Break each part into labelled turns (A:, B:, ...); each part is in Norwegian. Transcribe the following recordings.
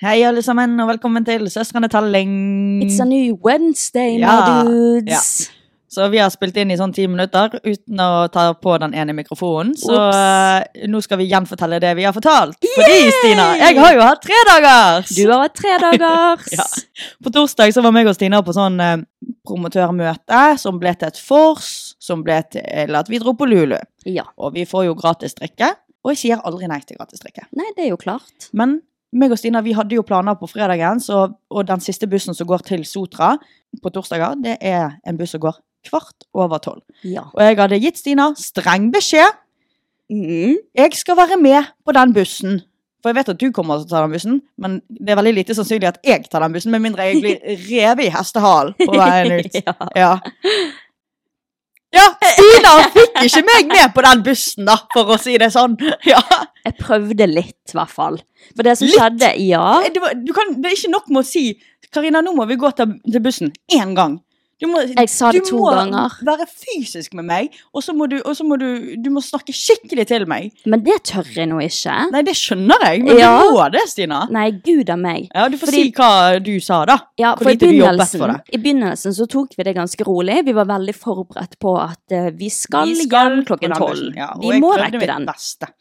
A: Hei, alle sammen, og velkommen til Søstrene Telling.
B: It's a new Wednesday,
A: Ja,
B: my dudes.
A: Så vi har spilt inn i sånn ti minutter uten å ta på den ene mikrofonen. Så
B: Ops.
A: eh, nå skal vi gjenfortelle det vi har fortalt. Fordi, Stina, jeg har jo hatt tre dager!
B: Du har hatt tre dagers.
A: Ja. På torsdag så var meg og Stina på sånn eh, promotørmøte som ble til et vors, som ble til at vi dro på Lulu.
B: Ja.
A: Og vi får jo gratis drikke, og jeg sier aldri nei til gratis drikke.
B: Nei, det er jo klart.
A: Men meg og Stina vi hadde jo planer på fredagen, så, og den siste bussen som går til Sotra på torsdager, det er en buss som går kvart over tolv.
B: Ja.
A: Og jeg hadde gitt Stina streng beskjed.
B: Mm.
A: Jeg skal være med på den bussen. For jeg vet at du kommer til å ta den bussen, men det er veldig lite sannsynlig at jeg tar den bussen, med mindre jeg blir revet i hestehalen på veien ut.
B: ja.
A: Ja. ja, Stina fikk ikke meg med på den bussen, da, for å si det sånn. Ja.
B: Jeg prøvde litt, i hvert fall. For det som
A: Litt?
B: skjedde Ja.
A: Eh, Det, var, du kan, det er ikke nok med å si Karina, nå må vi gå til, til bussen én gang. Du må,
B: Jeg sa det
A: du
B: to
A: må
B: ganger.
A: være fysisk med meg, og så må, du, og så må du, du må snakke skikkelig til meg.
B: Men det tør jeg nå ikke.
A: Nei, det skjønner jeg, men
B: Ja.
A: du må det, Stina.
B: Nei, gud a meg.
A: Ja, Du får
B: Fordi-
A: si hva du sa, da.
B: Ja,
A: Hvor
B: for i
A: lite du jobbet
B: begynnelsen,
A: for det.
B: I begynnelsen så tok vi det ganske rolig. Vi var veldig forberedt på at eh, vi skal, hjem klokken
A: på den
B: tolv.
A: bussen, Ja, og
B: vi
A: jeg
B: må
A: prøvde
B: rekke
A: mitt
B: den.
A: Beste.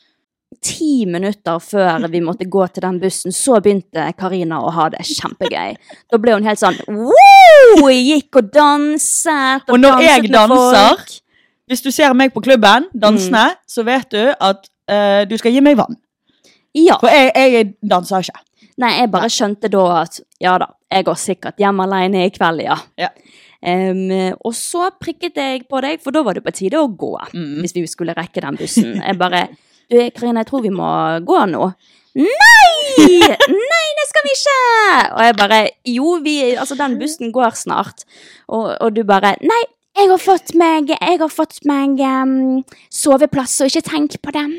B: ti minutter før vi måtte gå til den bussen, så begynte Karina å ha det kjempegøy. Da ble hun helt sånn wow! Gikk og danset.
A: Og når
B: danset
A: jeg
B: med folk.
A: danser- Hvis du ser meg på klubben
B: Mm.
A: dansende, så vet du at eh, du skal gi meg vann.
B: Ja.
A: For jeg, jeg danser ikke.
B: Nei, jeg bare skjønte da at ja da, jeg går sikkert hjem alene i kveld, ja.
A: Ja.
B: Em, og så prikket jeg på deg, for da var det på tide å gå.
A: Mm.
B: Hvis vi skulle rekke den bussen. Jeg bare Du, Karina, jeg tror vi må gå nå. Nei! Nei, det skal vi ikke! Og jeg bare Jo, vi Altså, den bussen går snart. Og, og du bare Nei, jeg har fått meg Jeg har fått meg em, soveplass, så ikke tenk på den.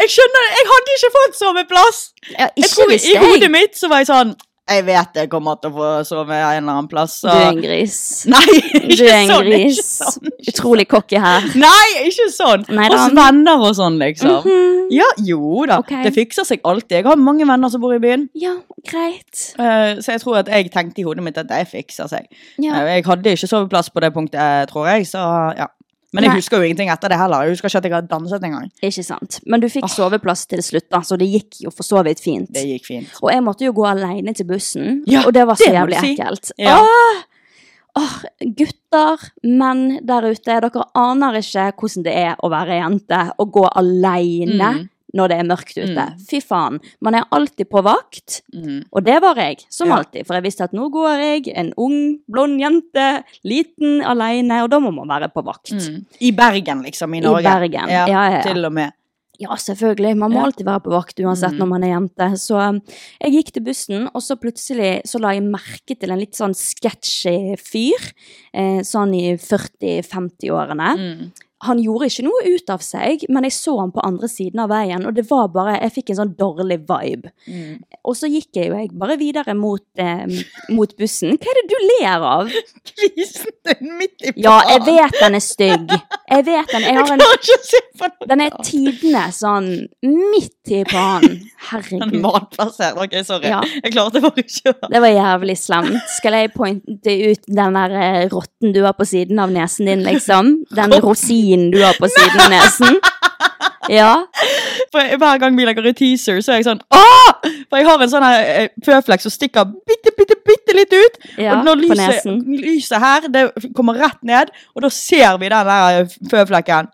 A: Jeg skjønner, det, jeg hadde ikke fått soveplass!
B: Ja,
A: Jeg
B: ikke
A: tror I hodet mitt så var jeg sånn Jeg vet jeg kommer til å få sove en eller annen plass.
B: Du
A: Så.
B: er en gris.
A: Nei,
B: Du
A: ikke
B: er en
A: sånn,
B: gris.
A: ikke sånn. ikke
B: Utrolig cocky her.
A: sånn. Nei, ikke sånn!
B: Nei da.
A: Hos venner og sånn, liksom.
B: Mhm.
A: Ja, jo da.
B: Ok.
A: Det fikser seg alltid. Jeg har mange venner som bor i byen.
B: Ja, greit.
A: eh, Så jeg tror at jeg tenkte i hodet mitt at det fikser seg.
B: Ja.
A: Eh, Jeg hadde ikke soveplass på det punktet, eh, tror jeg. Så, ja. Men jeg
B: Nei.
A: husker jo ingenting etter det heller. Jeg husker ikke at jeg har danset engang.
B: Ikke sant. Men du fikk soveplass til slutt, da, så det gikk jo for så vidt fint.
A: Det gikk fint.
B: Og jeg måtte jo gå alene til bussen,
A: Ja,
B: og det var så
A: det må
B: jævlig
A: du si.
B: ekkelt.
A: Ja.
B: Åh! Åh, gutter, menn der ute, dere aner ikke hvordan det er å være jente og gå alene
A: Mm.
B: når det er mørkt ute.
A: Mm.
B: Fy faen. Man er alltid på vakt.
A: Mm.
B: Og det var jeg, som
A: Ja.
B: alltid, for jeg visste at nå går jeg, en ung, blond jente, liten, alene, og da må man være på vakt.
A: Mm. I Bergen, liksom. I
B: I
A: Norge.
B: Bergen. Ja, ja, ja.
A: Til og med.
B: Ja, selvfølgelig. Man må
A: Ja.
B: alltid være på vakt uansett når man er jente. Så um, jeg gikk til bussen, og så plutselig så la jeg merke til en litt sånn sketchy fyr. Eh, sånn i 40-50-årene. Han gjorde ikke noe ut av seg, men jeg så han på andre siden av veien, og det var bare Jeg fikk en sånn dårlig vibe. Og så gikk jeg jo jeg bare videre mot, eh, mot bussen. Hva er det du ler av?
A: Kvisen din midt i
B: Ja, jeg vet den er stygg. Jeg vet den. Jeg har en
A: klarer ikke å se på den.
B: den er tidenes sånn midt i banen.
A: Den er
B: Herregud.
A: malplassert. OK, sorry.
B: Ja.
A: Jeg klarte bare ikke å
B: Det var jævlig slemt. Skal jeg pointe ut den der eh, rotten du har på siden av nesen din, liksom? Den rosinen du har på siden av nesen? Ja.
A: For jeg- Hver gang vi legger ut teaser, så er jeg sånn Åh! For jeg har en sånn her eh, føflekk som stikker bitte, bitte, bitte litt ut.
B: Ja,
A: og når
B: på
A: lyset,
B: nesen.
A: lyset her det kommer rett ned, og da ser vi den der eh, føflekken.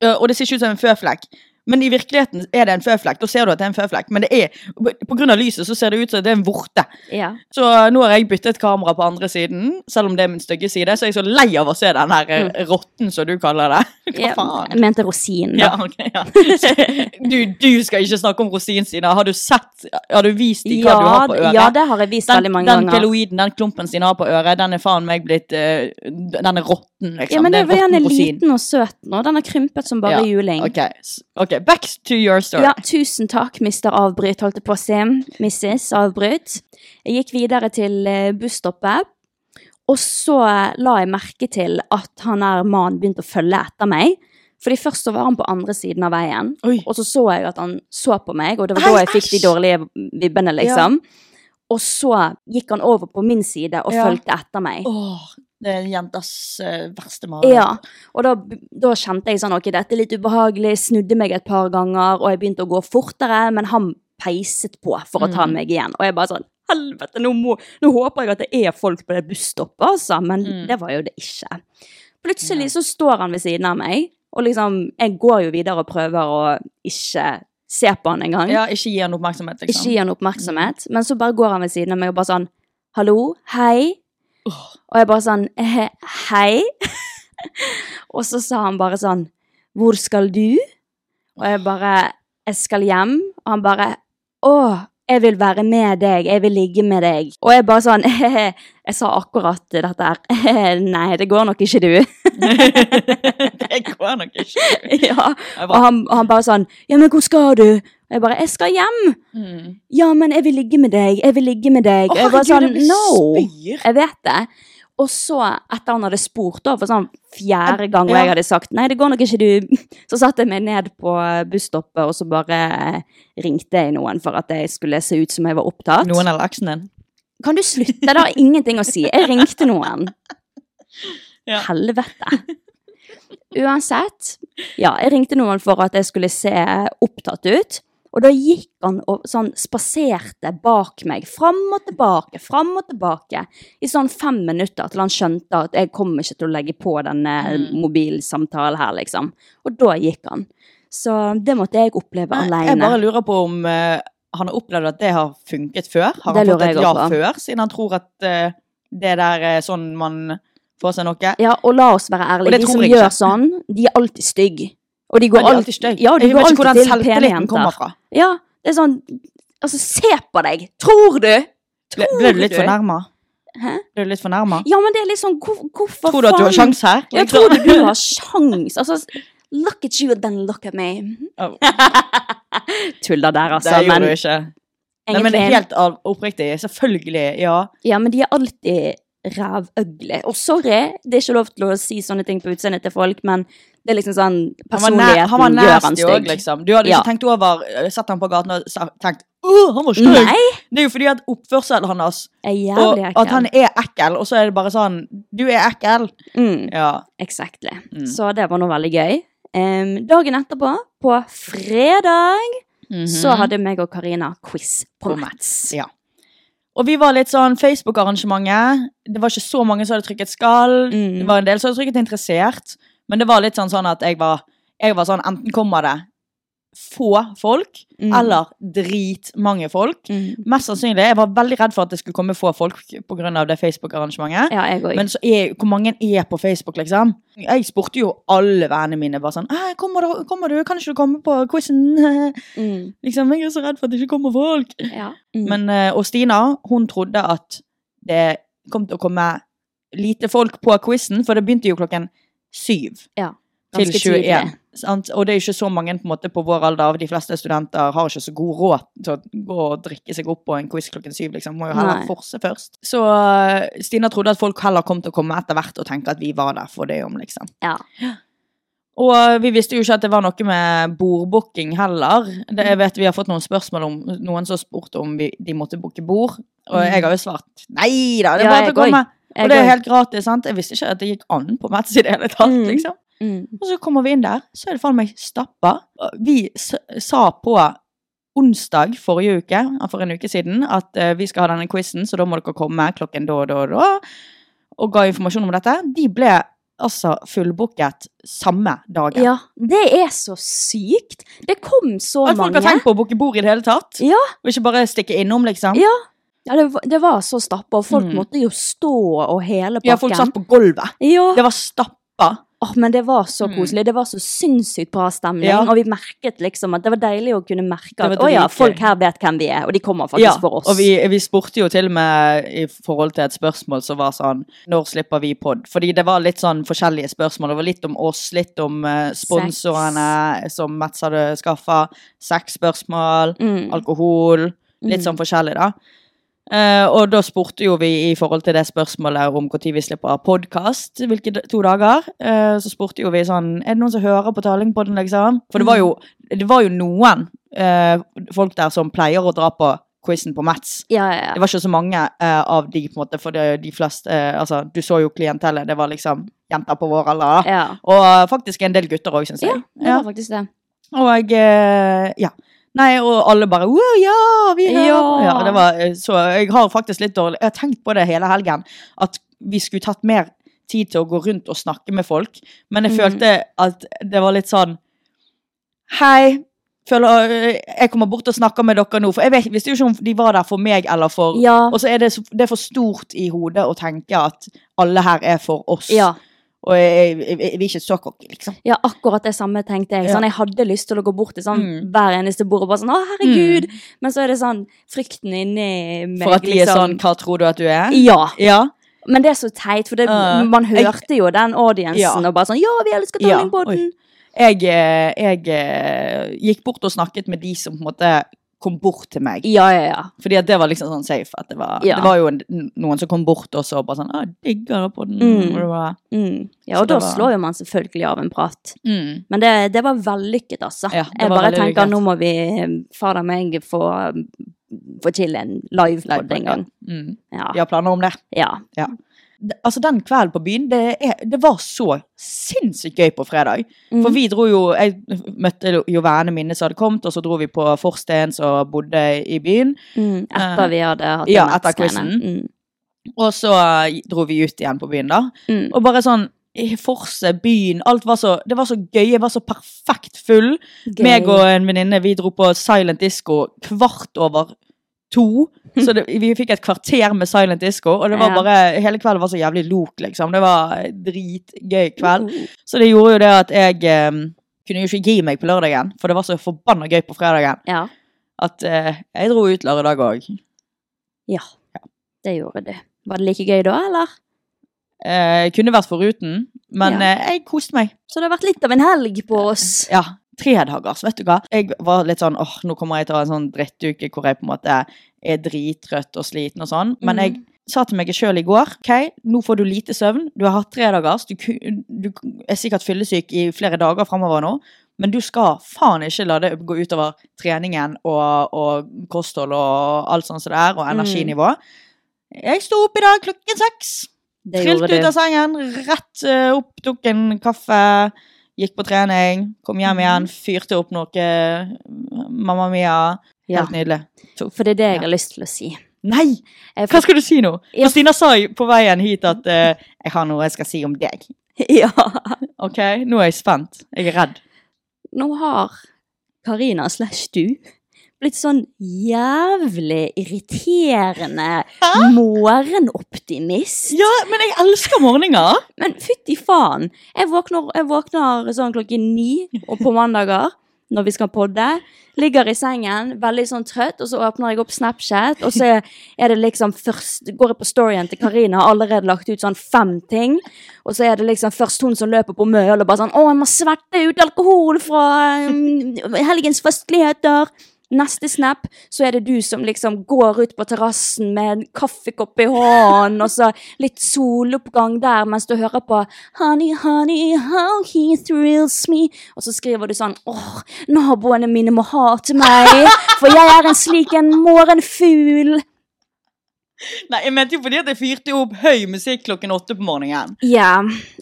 A: Eh, Og det ser ikke ut som en føflekk. Men i virkeligheten er det en føflekk. Da ser du at det er en føflekk. Men det er, på grunn av lyset så ser det ut som det er en vorte.
B: ja.
A: Så nå har jeg byttet kamera på andre siden, selv om det er min stygge side. Så er jeg så lei av å se den her eh,
B: Mm.
A: rotten, som du kaller det. Hva
B: Jeg
A: faen?
B: mente rosin, da.
A: Ja, ok, ja. Du, du skal ikke snakke om rosinsina. Har du sett, har du vist dem hva du har på øret?
B: ja, det har jeg vist
A: den,
B: veldig mange
A: den
B: ganger.
A: keloiden, den klumpen sine har på øret, den er faen meg blitt eh, Den er råtten, liksom.
B: Ja, men det
A: er en
B: var gjerne
A: råtten rosin.
B: liten og søt nå. Den har krympet som bare
A: Ja,
B: juling.
A: ok, s- ok, back to your story.
B: Ja, tusen takk, mister Avbryt, holdt jeg på å si. Mrs. Avbryt. Jeg gikk videre til eh, busstoppet, og så eh, la jeg merke til at han her mannen begynte å følge etter meg. Fordi først så var han på andre siden av veien,
A: Oi.
B: og så så jeg at han så på meg, og det
A: Ei,
B: var da jeg fikk de
A: æsj.
B: dårlige vibbene, liksom. Og så gikk han over på min side og
A: Ja.
B: fulgte etter meg.
A: Åh, det er jentas eh, verste mareritt.
B: Ja, og da, da kjente jeg sånn, ok, dette er litt ubehagelig, snudde meg et par ganger, og jeg begynte å gå fortere, men han peiset på for å ta meg igjen. Og jeg bare sånn, helvete, nå, må, nå håper jeg at det er folk på det busstoppet, altså, men det var jo det ikke. Plutselig så står han ved siden av meg, og liksom, jeg går jo videre og prøver å ikke se på han engang.
A: Ja, ikke gi han oppmerksomhet, liksom.
B: Ikke gi han oppmerksomhet, men så bare går han ved siden av meg og bare sånn Hallo, hei. Og jeg bare sånn «Eh, Hei. og så sa han bare sånn Hvor skal du? Og jeg bare Jeg skal hjem. Og han bare Å, jeg vil være med deg. Jeg vil ligge med deg. Og jeg bare sånn Jeg sa akkurat dette her. Nei, det går nok ikke, du.
A: det går nok ikke.
B: ja.
A: Jeg
B: Og
A: bare,
B: han, og han bare sånn Ja, men hvor skal du? Og jeg bare Jeg skal hjem.
A: mm.
B: Ja, men jeg vil ligge med deg, jeg vil ligge med deg. Og jeg var sånn, no,
A: spyr.
B: jeg vet det. Og så, etter han hadde spurt da, for sånn fjerde gang, og
A: Ja.
B: jeg hadde sagt, nei, det går nok ikke du, så satte jeg meg ned på busstoppet, og så bare eh, ringte jeg noen for at jeg skulle se ut som jeg var opptatt.
A: Noen eller eksen din?
B: Kan du slutte? Det har ingenting å si. Jeg ringte noen.
A: Ja.
B: Helvete. Uansett. Ja, jeg ringte noen for at jeg skulle se opptatt ut. Og da gikk han og sånn spaserte bak meg, fram og tilbake, fram og tilbake, i sånn fem minutter til han skjønte at jeg kommer ikke til å legge på denne
A: Mm.
B: mobilsamtalen her, liksom. Og da gikk han. Så det måtte jeg oppleve
A: Nei,
B: alene.
A: Jeg bare lurer på om eh, han har opplevd at det har funket før. Har
B: Det
A: han
B: lurer
A: fått et
B: jeg
A: ja
B: også på.
A: før, siden han tror at eh, det der er sånn man får seg noe?
B: Ja, og la oss være
A: Og
B: ærlige.
A: det
B: De
A: tror
B: som
A: jeg ikke.
B: gjør sånn, de er alltid stygge. Og de går
A: Men det er
B: alltid,
A: alltid støy.
B: Ja,
A: jeg
B: de går
A: vet ikke
B: alltid
A: hvordan
B: til pene
A: selvtilliten kommer
B: jenter.
A: fra.
B: Ja, det er sånn Altså, se på deg! Tror du?
A: Ble, ble du litt
B: Tror du?
A: fornærma?
B: Hæ?
A: Ble du litt fornærma?
B: Ja, men det er litt sånn hvor, Hvorfor
A: Tror du at du har
B: faen?
A: sjans her?
B: Ja, tror du du har sjans? Altså, look at you, and then look at me.
A: Oh.
B: Tuller der,
A: det
B: altså.
A: gjorde
B: Men
A: du ikke. Nei, men
B: egentlig
A: helt av- oppriktig. Selvfølgelig. Ja.
B: Ja, men de er alltid rævøgle. Og sorry, det er ikke lov til å si sånne ting på utseendet til folk, men det er liksom sånn
A: Han var, næ
B: Personligheten
A: han var
B: gjør han
A: nasty òg,
B: stygg.
A: liksom. Du hadde ikke
B: Ja.
A: tenkt over eh, Sett ham på gaten og sa- tenkt Åh, han var stygg!
B: Nei!
A: Det er jo fordi at oppførselen hans
B: Er
A: og
B: jævlig ekkel.
A: at han er ekkel, og så er det bare sånn Du er ekkel.
B: Mm,
A: Ja.
B: exactly.
A: Mm.
B: Så det var nå veldig gøy. Em, dagen etterpå, på fredag, så hadde meg og Karina quiz på
A: Mhm. På
B: Mats.
A: Ja. Og vi var litt sånn Facebook-arrangementet. Det var ikke så mange som hadde trykket skall.
B: Mm.
A: Det var en del som hadde trykket interessert. Men det var litt sånn, sånn at jeg var, jeg var sånn Enten kommer det få folk,
B: Mm.
A: eller dritmange folk. Mest sannsynlig. Jeg var veldig redd for at det skulle komme få folk pga. det Facebook-arrangementet.
B: Ja, jeg òg.
A: Men så er, hvor mange er på Facebook, liksom? Jeg spurte jo alle vennene mine. bare sånn, «Hei, kommer du, 'Kommer du? Kan ikke du komme på quizen?'
B: Mm.
A: Liksom, Jeg er så redd for at det ikke kommer folk.
B: Ja. Mm.
A: Men, eh, og Stina hun trodde at det kom til å komme lite folk på quizen, for det begynte jo klokken syv
B: Ja,
A: til
B: ganske tidlig.
A: 21. Sant? Og det er jo ikke så mange på, en måte, på vår alder. De fleste studenter har ikke så god råd til å gå og drikke seg opp på en quiz klokken syv. Liksom. Må jo heller
B: Nei.
A: forse først. Så eh, Stina trodde at folk heller kom til å komme etter hvert og tenke at vi var der for det om, liksom.
B: ja.
A: Og eh, vi visste jo ikke at det var noe med bordbooking heller. Det, jeg vet Vi har fått noen spørsmål om noen som spurte om vi, de måtte booke bord. Og jeg har jo svart nei da, det er
B: Mm. Ja,
A: bare til å
B: jeg
A: komme.
B: Jeg
A: Og det er
B: går-
A: helt gratis, sant. Jeg visste ikke at det gikk an på Mats i det hele tatt,
B: Mm.
A: liksom.
B: mm.
A: Og så kommer vi inn der, så er det faen meg stappa. Og Vi s sa på onsdag forrige uke, for en uke siden, at eh, vi skal ha denne quizen, så da må dere komme klokken da og da og da. Og ga informasjon om dette. De ble altså fullbooket samme dagen.
B: ja. Det er så sykt! Det kom så
A: At folk
B: mange.
A: har tenkt på å booke bord i det hele tatt.
B: Ja.
A: Og ikke bare stikke innom, liksom.
B: Ja, ja det, var- det var så stappa, og folk
A: Mm.
B: måtte jo stå og hele
A: Ja, folk satt på
B: pakken.
A: gulvet.
B: Ja,
A: Det var stappa.
B: Åh, men det var så
A: Mm.
B: koselig. Det var så sinnssykt bra stemning.
A: Ja.
B: Og vi merket liksom at det var deilig å kunne merke
A: Det
B: at
A: var
B: å ja,
A: dritgøy.
B: folk her vet hvem vi er, og de kommer faktisk for oss.
A: Og vi, vi spurte jo til og med i forhold til et spørsmål som var sånn Når slipper vi pod? Fordi det var litt sånn forskjellige spørsmål. Det var litt om oss, litt om eh, sponsorene som Mats hadde skaffa. Sexspørsmål,
B: Mm.
A: alkohol. Litt
B: Mm.
A: sånn forskjellig, da. Eh, og da spurte jo vi i forhold til det spørsmålet om når vi slipper podkast, hvilke d- to dager. Eh, så spurte jo vi sånn Er det noen som hører på Tallingpodden, liksom? For det var jo, det var jo noen eh, folk der som pleier å dra på quizen på Mats.
B: Ja, ja,
A: Det
B: ja.
A: var ikke så mange eh, av de, på en måte, for det, de fleste eh, Altså, du så jo klientellet. Det var liksom jenter på vår alder. da.
B: ja.
A: Og faktisk en del gutter òg, syns
B: Ja,
A: jeg.
B: det var faktisk det.
A: Og eh, ja. Nei, og alle bare wow, ja, vi hører
B: Ja.
A: på». ja, det var, eh, Så jeg har faktisk litt dårlig Jeg har tenkt på det hele helgen, at vi skulle tatt mer tid til å gå rundt og snakke med folk. Men jeg
B: Mhm.
A: følte at det var litt sånn Hei, føler, eh, jeg kommer bort og snakker med dere nå. For jeg vet, visste jo ikke om de var der for meg eller for
B: Ja.
A: Og så er det, så- det er for stort i hodet å tenke at alle her er for oss.
B: Ja,
A: Og jeg, jeg, jeg, vi er ikke så cocky, liksom.
B: ja, akkurat det samme tenkte jeg. Sånn, jeg hadde lyst til å gå bort til sånn,
A: Mm.
B: hver eneste bord og bare sånn 'Å, herregud!' Men så er det sånn frykten inni meg. liksom.
A: For at de er sånn Hva tror du at du er?
B: Ja.
A: Ja.
B: Men det er så teit, for det,
A: Ja.
B: man hørte jo den audiencen
A: Ja.
B: og bare sånn 'Ja, vi elsker
A: Ja,
B: Tallingbåten!'
A: Jeg, eh, jeg eh, gikk bort og snakket med de som på en måte kom bort til meg.
B: Ja, ja, ja.
A: Fordi at det var liksom sånn safe. At det, var,
B: Ja.
A: det var jo en, noen som kom bort og så bare sånn «Å, 'Digger det på den.'
B: Mm.
A: Og det var,
B: Mm. Ja,
A: Så
B: og
A: det
B: da
A: var-
B: slår jo man selvfølgelig av en prat.
A: mm.
B: Men det, det var vellykket, altså.
A: Ja, det
B: jeg
A: var
B: bare
A: veldig
B: tenker
A: vellykket.
B: nå må vi fader meg få, mm, få til en livepod en gang.
A: Mm.
B: Ja.
A: Vi har planer om det.
B: ja.
A: D- Altså, den kvelden på byen, det, er, det var så sinnssykt gøy på fredag.
B: Mm.
A: For vi dro jo Jeg møtte jo vennene mine som hadde kommet, og så dro vi på Forsteins og bodde i byen.
B: Mm. Etter vi hadde hatt
A: Eh, ja,
B: den Mm.
A: etter
B: nettsteinen.
A: Og så eh, dro vi ut igjen på byen, da.
B: Mm. Mm.
A: Og bare sånn i Forset, byen, alt var så Det var så gøy, jeg var så perfekt full.
B: Gøy.
A: Meg og en venninne, vi dro på silent disco kvart over to. Så det, vi fikk et kvarter med silent disco, og det var
B: Ja.
A: bare Hele kvelden var så jævlig lok, liksom. Det var dritgøy kveld.
B: Uh-huh. Uh,
A: Så det gjorde jo det at jeg eh, kunne jo ikke gi meg på lørdagen, for det var så forbanna gøy på fredagen
B: Ja.
A: at eh, jeg dro ut lørdag òg.
B: ja. Det gjorde du. Var det like gøy da, eller?
A: Eh, kunne vært foruten, men
B: Ja.
A: eh, jeg koste meg.
B: Så det har vært litt av en helg på oss.
A: Ja, tredagers, vet du hva. Jeg var litt sånn, åh, nå kommer jeg til å ha en sånn drittuke hvor jeg på en måte er drittrøtt og sliten og sånn. Men
B: Mm.
A: jeg sa til meg sjøl i går, ok, nå får du lite søvn, du har hatt tredagers, du, ku- du er sikkert fyllesyk i flere dager framover nå. Men du skal faen ikke la det gå utover treningen og, og kosthold og alt sånt som det er, og energinivå. Jeg sto opp i dag klokken seks.
B: Det
A: Trilte ut altså.
B: gjorde
A: av
B: du.
A: sengen, rett eh, opp, tok en kaffe, gikk på trening, kom
B: Mhm.
A: hjem igjen, fyrte opp noe. eh, Mamma mia.
B: Ja.
A: Helt nydelig.
B: For det er det jeg
A: Ja.
B: har lyst til å si.
A: Nei!
B: Jeg
A: Hva skal du si nå?
B: Ja.
A: For Stina sa jo på veien hit at eh, 'jeg har noe jeg skal si om deg'.
B: Ja.
A: Ok, Nå er jeg spent. Jeg er redd.
B: Nå har Karina slash du blitt sånn jævlig irriterende morgenoptimist.
A: Ja, men jeg elsker morgener!
B: Men fytti faen! Jeg våkner, jeg våkner sånn klokken ni og på mandager når vi skal podde. Ligger i sengen, veldig sånn trøtt, og så åpner jeg opp Snapchat, og så er det liksom først Går jeg på storyen til Karina, har allerede lagt ut sånn fem ting, og så er det liksom først hun som løper på møl og bare sånn 'Å, jeg må svette ut alkohol fra mm, helgens festligheter'. Neste snap, så er det du som liksom går ut på terrassen med en kaffekopp i hånden, og så litt soloppgang der mens du hører på Honey, honey, how he thrills me. Og så skriver du sånn åh, naboene mine må hate meg, for jeg er en slik en morgenfugl.
A: Nei, jeg mente jo fordi at jeg fyrte opp høy musikk klokken åtte på morgenen.
B: Ja,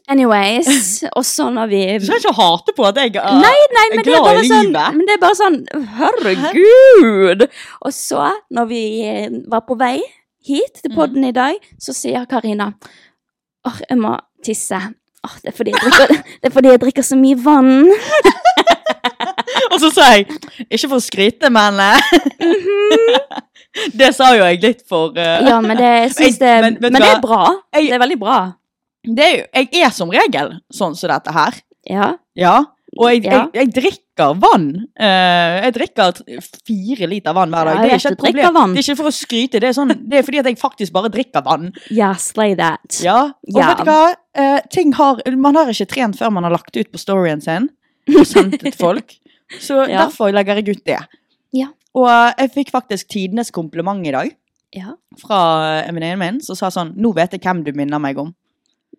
B: anyways. Og så når vi
A: Du skal ikke hate på at Ah, jeg eh, er
B: Nei, nei, men det er
A: glad
B: bare
A: i
B: sånn,
A: livet.
B: men det er bare sånn Herregud! Og så, når vi eh, var på vei hit
A: Mm.
B: til podden i dag, så sier Karina Åh, jeg må tisse. Åh, det, er fordi jeg drikker, det er fordi jeg drikker så mye vann.
A: Og så sa jeg Ikke for å skryte, men eh, Det sa jo jeg litt for eh,
B: Ja, men det, jeg synes det,
A: Men- men vet
B: men,
A: du
B: det
A: hva?
B: er bra.
A: Jeg-
B: Det er veldig bra.
A: det er jo, Jeg er som regel sånn som dette her.
B: Ja.
A: Ja. Og jeg,
B: Ja.
A: jeg, jeg drikker vann. Eh, jeg drikker t- fire liter vann hver dag. det,
B: Ja,
A: er
B: jeg vet
A: ikke et
B: du drikker vann.
A: problem. det er ikke for å skryte, det er, sånn, det er fordi at jeg faktisk bare drikker vann.
B: Ja, slay that.
A: Ja, og
B: Ja.
A: vet du hva? Eh, ting har, man har ikke trent før man har lagt ut på storyen sin og sendt til folk. Så
B: Ja.
A: derfor legger jeg ut det.
B: Ja.
A: Og eh, jeg fikk faktisk tidenes kompliment i dag
B: Ja.
A: fra eh, en venninne min som sa sånn Nå vet jeg hvem du minner meg om.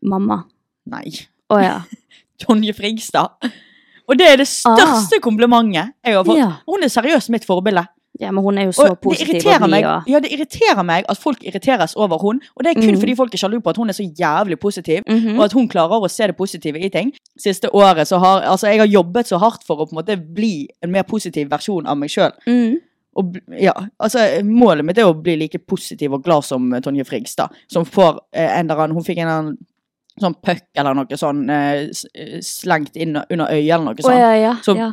B: Mamma.
A: Nei.
B: Å ja.
A: Tonje Frigstad. Og det er det største komplimentet jeg har fått.
B: Ah. Ja.
A: Hun er seriøst mitt forbilde.
B: ja. Men hun er jo så
A: Og det
B: positiv
A: irriterer
B: og blid
A: meg,
B: og
A: ja, det irriterer meg at folk irriteres over hun, og det er kun
B: Mhm.
A: fordi folk er sjalu på at hun er så jævlig positiv.
B: Mhm.
A: Og at hun klarer å se det positive i ting. Siste året så har altså jeg har jobbet så hardt for å på en måte bli en mer positiv versjon av meg sjøl.
B: mm.
A: Og bl- ja, altså Målet mitt er å bli like positiv og glad som eh, Tonje Frigstad. Som får eh, en eller annen Hun fikk en eller annen sånn puck eller noe sånn eh, s- eh, slengt inn under øyet eller noe
B: Å
A: sånt.
B: ja, ja.
A: Så
B: ja.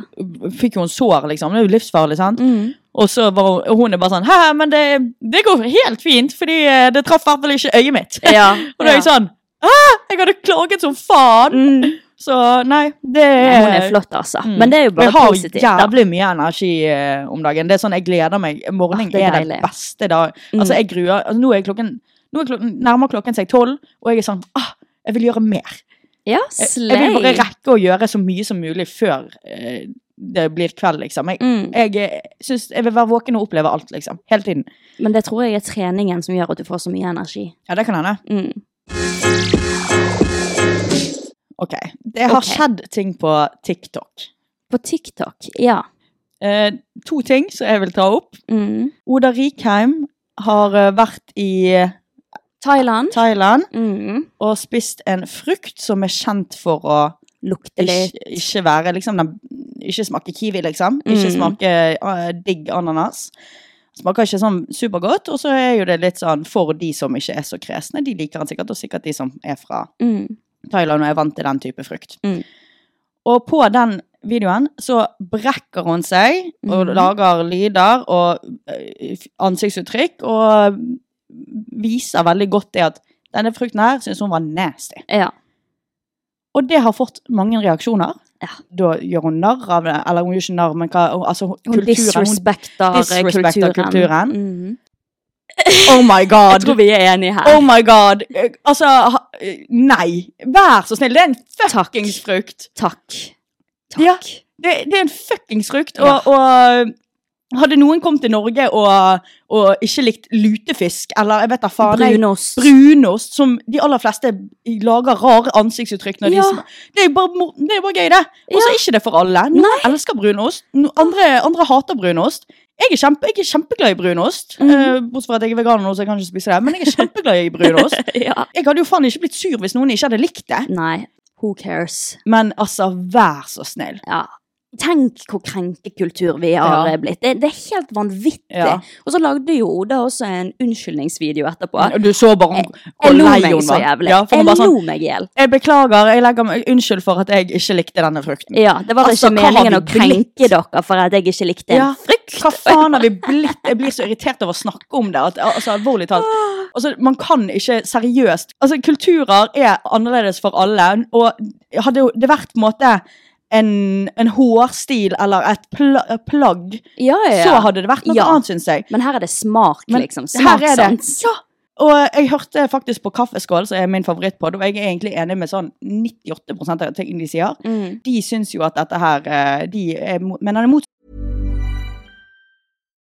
A: fikk hun sår, liksom. Det er jo livsfarlig, sant?
B: Mm.
A: Og så var hun, og hun er bare sånn Hæ, men det, det går helt fint, fordi eh, det traff i hvert fall ikke øyet mitt.
B: Ja,
A: og da er jeg
B: ja.
A: sånn Hæ, jeg hadde klaget som faen!
B: Mm.
A: Så nei, det
B: Nei, hun er flott, altså.
A: Mm.
B: Men det er jo bare
A: jeg har
B: positivt. da.
A: jævlig mye energi eh, om dagen. Det er sånn, Jeg gleder meg. Morgenen
B: Ah, det er
A: er,
B: deilig. Mm.
A: den beste da. Altså, jeg gruer altså, Nå er klokken, nå er klokken nærmer klokken seg tolv, og jeg er sånn ah, Jeg vil gjøre mer.
B: Ja,
A: Jeg,
B: slay.
A: jeg vil bare rekke å gjøre så mye som mulig før eh, det blir kveld, liksom. Jeg,
B: Mm.
A: jeg, eh, synes, jeg vil være våken og oppleve alt, liksom. Hele tiden.
B: Men det tror jeg er treningen som gjør at du får så mye energi.
A: Ja, det kan hende.
B: Mm.
A: Ok. Det har
B: Ok.
A: skjedd ting på TikTok.
B: På TikTok, ja.
A: Eh, to ting som jeg vil ta opp.
B: Mm.
A: Oda Rikheim har eh, vært i
B: Thailand.
A: Thailand.
B: Mm.
A: og spist en frukt som er kjent for å
B: Lukter litt.
A: ikke, ikke være liksom, den, Ikke smake kiwi, liksom. Ikke
B: Mm.
A: smake eh, digg ananas. Smaker ikke sånn supergodt, og så er jo det litt sånn for de som ikke er så kresne. De liker den sikkert, og sikkert de som er fra
B: Mm.
A: Thailand og er vant til den type frukt.
B: Mm.
A: Og på den videoen så brekker hun seg og
B: Mhm.
A: lager lyder og eh, ansiktsuttrykk og viser veldig godt det at denne frukten her syns hun var nasty.
B: Ja.
A: Og det har fått mange reaksjoner.
B: Ja.
A: Da gjør hun narr av det, eller hun gjør ikke narr, men hva altså,
B: Hun
A: kulturen,
B: disrespekter eh,
A: disrespekter kulturen.
B: kulturen. Mm.
A: Oh my
B: Jeg
A: god!
B: tror vi er enige her.
A: Oh my god! Eh, Altså, ha- eh, nei! Vær så snill, det er en fuckings frukt!
B: Takk. Takk.
A: Ja. Det, det er en fuckings frukt. Og,
B: Ja.
A: og hadde noen kommet til Norge og, og ikke likt lutefisk, eller jeg vet da faen jeg-
B: Brunost.
A: Brunost, som de aller fleste lager rare ansiktsuttrykk når de
B: Ja.
A: sm- Det er jo bare, mo- det er jo bare gøy, det. Og så er ikke det for alle. Noen elsker brunost, no- andre, andre hater brunost. Jeg er, kjempe, jeg er kjempeglad i brunost,
B: Mhm.
A: eh, bortsett fra at jeg er veganer nå, så jeg kan ikke spise det. Men jeg er kjempeglad i brunost.
B: ja.
A: Jeg hadde jo faen ikke blitt sur hvis noen ikke hadde likt det.
B: Nei. Who cares?
A: Men altså, vær så snill.
B: Ja. Tenk hvor krenkekultur vi har
A: Ja.
B: eh, blitt. Det, det er helt vanvittig.
A: Ja.
B: Og så lagde jo Oda også en unnskyldningsvideo etterpå.
A: Og Du så bare
B: Jeg,
A: om- hvor
B: jeg lo
A: lei
B: meg
A: hun
B: så
A: var.
B: jævlig.
A: Ja, for hun
B: jeg
A: bare
B: lo
A: sånn,
B: meg i hjel.
A: jeg beklager, jeg legger meg unnskyld for at jeg ikke likte denne frukten.
B: Ja, det var
A: Altså,
B: ikke
A: hva har
B: meningen
A: vi
B: å krenke
A: blitt?
B: dere for at jeg ikke likte en
A: Ja,
B: frukt.
A: Hva faen har vi blitt? Jeg blir så irritert over å snakke om det. At, altså, alvorlig talt.
B: Ah.
A: Altså, man kan ikke seriøst Altså, kulturer er annerledes for alle, og hadde jo det vært på en måte en, en hårstil eller et pla plagg,
B: Ja, ja, ja.
A: så hadde det vært noe
B: Ja.
A: annet, syns jeg.
B: Men her er det smak, liksom.
A: her er det-
B: Smakssans.
A: Ja. Og jeg hørte faktisk på Kaffeskål, som er min favorittpod, og jeg er egentlig enig med sånn 98 av ting de sier.
B: Mm.
A: De syns jo at dette her eh, de er, mo- Men han er mot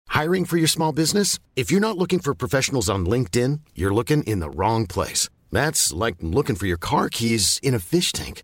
C: Hiring for your small business? If you're not looking for professionals on LinkedIn, you're looking in the wrong place. That's like looking for your car keys in a fish tank.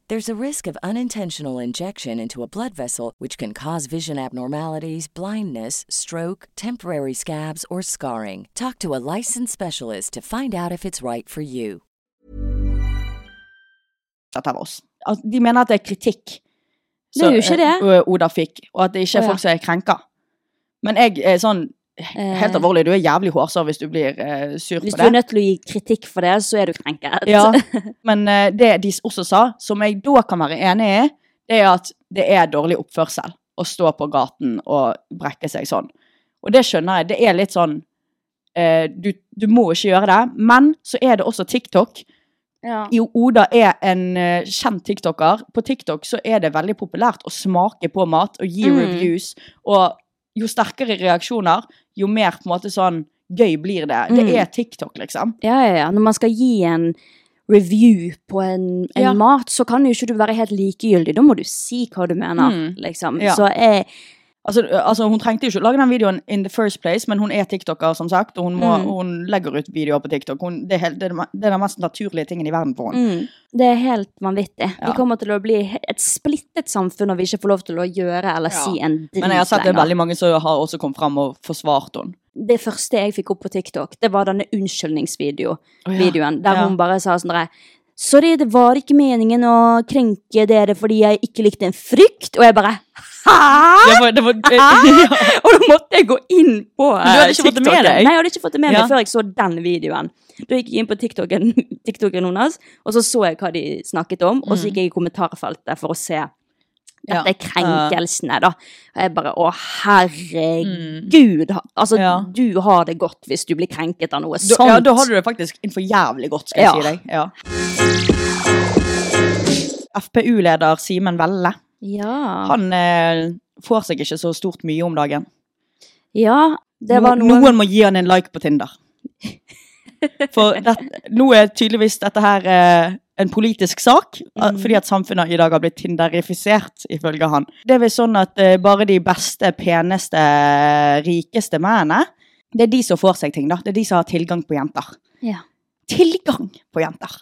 D: There's a risk of unintentional injection into a blood vessel, which can cause vision abnormalities, blindness, stroke, temporary scabs, or scarring. Talk to a licensed specialist to find out if it's right for you.
A: opptatt av oss. Altså, de mener at det er kritikk.
B: Det er jo ikke det.
A: eh, Oda fikk, og at det ikke
B: Å,
A: er
B: ja.
A: folk som er krenka. Men jeg er sånn Helt
B: Eh.
A: alvorlig, du er jævlig hårsår hvis du blir eh, sur
B: Hvis
A: på
B: du er
A: det.
B: nødt til å gi kritikk for det, så er du krenket.
A: Ja. Men eh, det de også sa, som jeg da kan være enig i, det er at det er dårlig oppførsel å stå på gaten og brekke seg sånn. Og det skjønner jeg. Det er litt sånn eh, du, du må ikke gjøre det. Men så er det også TikTok.
B: Ja.
A: Jo, Oda er en eh, kjent tiktoker. På TikTok så er det veldig populært å smake på mat og gi
B: Mm.
A: reviews. Og jo sterkere reaksjoner, jo mer på en måte sånn gøy blir det.
B: Mm.
A: Det er TikTok, liksom.
B: Ja, ja, ja. Når man skal gi en review på en, en
A: Ja.
B: mat, så kan jo ikke du være helt likegyldig. Da må du si hva du mener,
A: Mm.
B: liksom.
A: Ja.
B: Så jeg,
A: Altså, ø, altså, hun trengte jo ikke å lage den videoen in the first place, men hun er tiktoker, som sagt, og hun, må,
B: Mm.
A: hun legger ut videoer på TikTok. Hun, det, er helt, det, er, det me- det er den mest naturlige tingen i verden for henne.
B: mm, det er helt vanvittig. Vi
A: Ja.
B: kommer til å bli he- et splittet samfunn når vi ikke får lov til å gjøre
A: Ja.
B: eller si en drit
A: Men jeg har sett det er
B: lenger.
A: veldig mange som har også kommet fram og forsvart henne.
B: det første jeg fikk opp på TikTok, det var denne unnskyldningsvideoen.
A: Å ja.
B: videoen, Der
A: Ja.
B: hun bare sa sånn derre Sorry, det var ikke meningen å krenke dere fordi jeg ikke likte en frykt. Og jeg bare Hæ?!
A: Det var, det var,
B: Hæ? Og da måtte jeg gå inn på
A: Men du hadde
B: eh,
A: ikke fått det med
B: TikToken.
A: deg?
B: Nei, jeg hadde ikke fått det med
A: Ja.
B: meg før jeg så den videoen. Da gikk jeg inn på TikToken, TikToken hennes, og så så jeg hva de snakket om. Og så gikk jeg i kommentarfeltet for å se
A: Mm. Ja.
B: dette er krenkelsene, da. Og jeg bare Å, herregud. Altså,
A: Mm. Ja.
B: du har det godt hvis du blir krenket av noe
A: Da-
B: sånt.
A: Ja, da har du det faktisk innenfor jævlig godt, skal jeg
B: Ja.
A: si deg. Ja. FPU-leder Simen Velle,
B: Ja.
A: han eh, får seg ikke så stort mye om dagen.
B: ja. Det var
A: No-
B: noen,
A: noen må gi han en like på Tinder. For det, nå er tydeligvis dette her eh, en politisk sak,
B: Mm.
A: eh, fordi at samfunnet i dag har blitt tinderifisert, ifølge han. Det er vel sånn at eh, bare de beste, peneste, rikeste mennene Det er de som får seg ting, da. Det er de som har tilgang på jenter.
D: Ja.
A: Tilgang på jenter!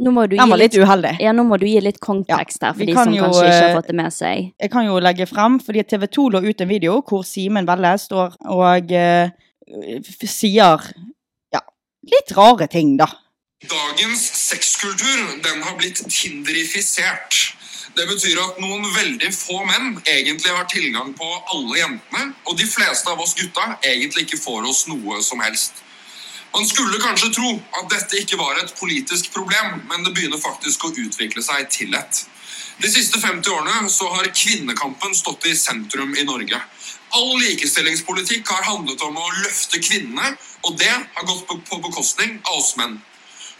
D: Nå må du
A: Den
D: gi
A: var litt
D: litt,
A: uheldig.
D: ja, nå må du gi litt kontekst
A: Ja,
D: her, for
A: vi
D: de
A: kan
D: som
A: jo,
D: kanskje ikke har
A: eh,
D: fått det med seg.
A: Jeg kan jo legge frem, fordi TV 2 lå ut en video hvor Simen Velle står og eh, f- sier ja, litt rare ting, da.
B: Dagens sexkultur den har blitt tinderifisert. Det betyr at noen veldig få menn egentlig har tilgang på alle jentene, og de fleste av oss gutta egentlig ikke får oss noe som helst. Man skulle kanskje tro at dette ikke var et politisk problem, men det begynner faktisk å utvikle seg til et. De siste 50 årene så har kvinnekampen stått i sentrum i Norge. All likestillingspolitikk har handlet om å løfte kvinnene, og det har gått på- på bekostning av oss menn.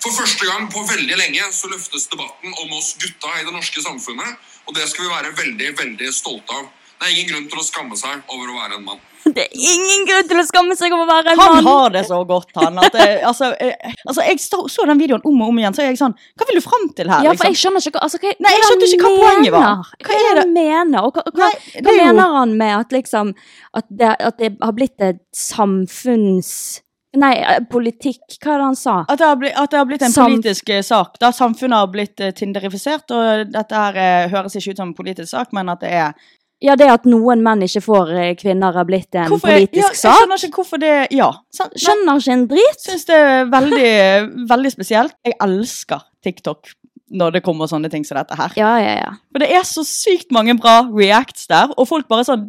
B: For første gang på veldig lenge så løftes debatten om oss gutta i det norske samfunnet, og det skal vi være veldig, veldig stolte av. Det er ingen grunn til å skamme seg over å være en mann.
D: Det er ingen grunn til å skamme seg over å være en
A: Han
D: mann!
A: har det så godt, han. At, eh, altså, eh, altså, jeg så, så den videoen om og om igjen, så er jeg sånn Hva vil du fram til her?
D: Ja, for
A: liksom?
D: jeg skjønner ikke hva altså, hva-
A: Nei, jeg
D: hva han
A: skjønte ikke hva poenget var.
D: mener.
A: Hva er det-
D: han mener? Og hva, hva,
A: Nei, det
D: hva
A: er jo-
D: mener han med at liksom at det, at det har blitt et samfunns... Nei, eh, politikk Hva er det han sa?
A: At det, har blitt, at det har blitt en
D: Sam-
A: politisk eh, sak. da Samfunnet har blitt eh, tinderifisert, og dette her eh, høres ikke ut som en politisk sak, men at det er
D: Ja, det at noen menn ikke får eh, kvinner, har blitt en
A: Hvorfor- ja,
D: politisk
A: jeg
D: sak.
A: skjønner ikke hvorfor det Ja. sant? Nei,
D: Skjønner ikke en drit.
A: Jeg syns det er veldig, veldig spesielt. Jeg elsker TikTok når det kommer sånne ting som dette her.
D: Ja, ja, ja.
A: For det er så sykt mange bra reacts der, og folk bare sånn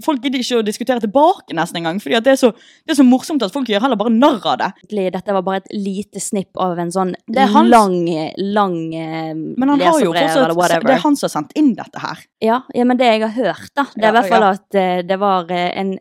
A: Folk gidder ikke å diskutere tilbake nesten engang, fordi at det er så, det er så morsomt at folk gjør heller bare narr av det.
D: Egentlig, Dette var bare et lite snipp av en sånn
A: Det er hans-
D: lang, eh, lang eh,
A: Men han har jo
D: leserbrev eller
A: fortsatt
D: whatever.
A: Det er han som har sendt inn dette her.
D: Ja, ja, men det jeg har hørt, da, det er
A: Ja,
D: i hvert fall
A: ja.
D: at eh, det var eh, en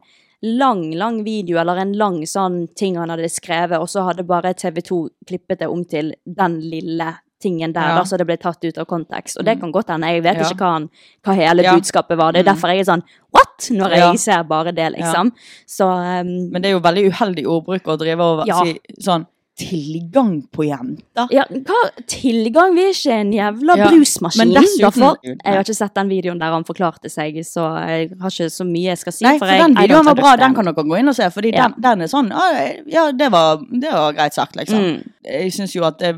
D: lang, lang video, eller en lang sånn ting han hadde skrevet, og så hadde bare TV 2 klippet det om til den lille tingen der,
A: Ja. Mm.
D: da, så det ble tatt ut av kontekst. Og det kan godt hende, jeg vet
A: Ja.
D: ikke hva, han, hva hele
A: Ja.
D: budskapet var. Det er
A: Mm.
D: derfor jeg er sånn what?! Når jeg
A: Ja.
D: ser bare det, liksom. Så ehm,
A: Men det er jo veldig uheldig ordbruk å drive og
D: Ja.
A: si sånn Tilgang på jenter?
D: ja, hva tilgang? Vi er ikke en jævla
A: Ja,
D: brusmaskin.
A: men dessuten-
D: derfor,
A: Gud, nei.
D: jeg har ikke sett den videoen der han forklarte seg, så jeg har ikke så mye jeg skal si.
A: Nei, for
D: jeg,
A: den
D: I don't
A: videoen var bra,
D: understand.
A: den kan dere gå inn og se, fordi
D: Ja.
A: den, den er sånn «Å, Ja, det var, det var greit sagt, liksom.
D: Mm.
A: Jeg syns jo at det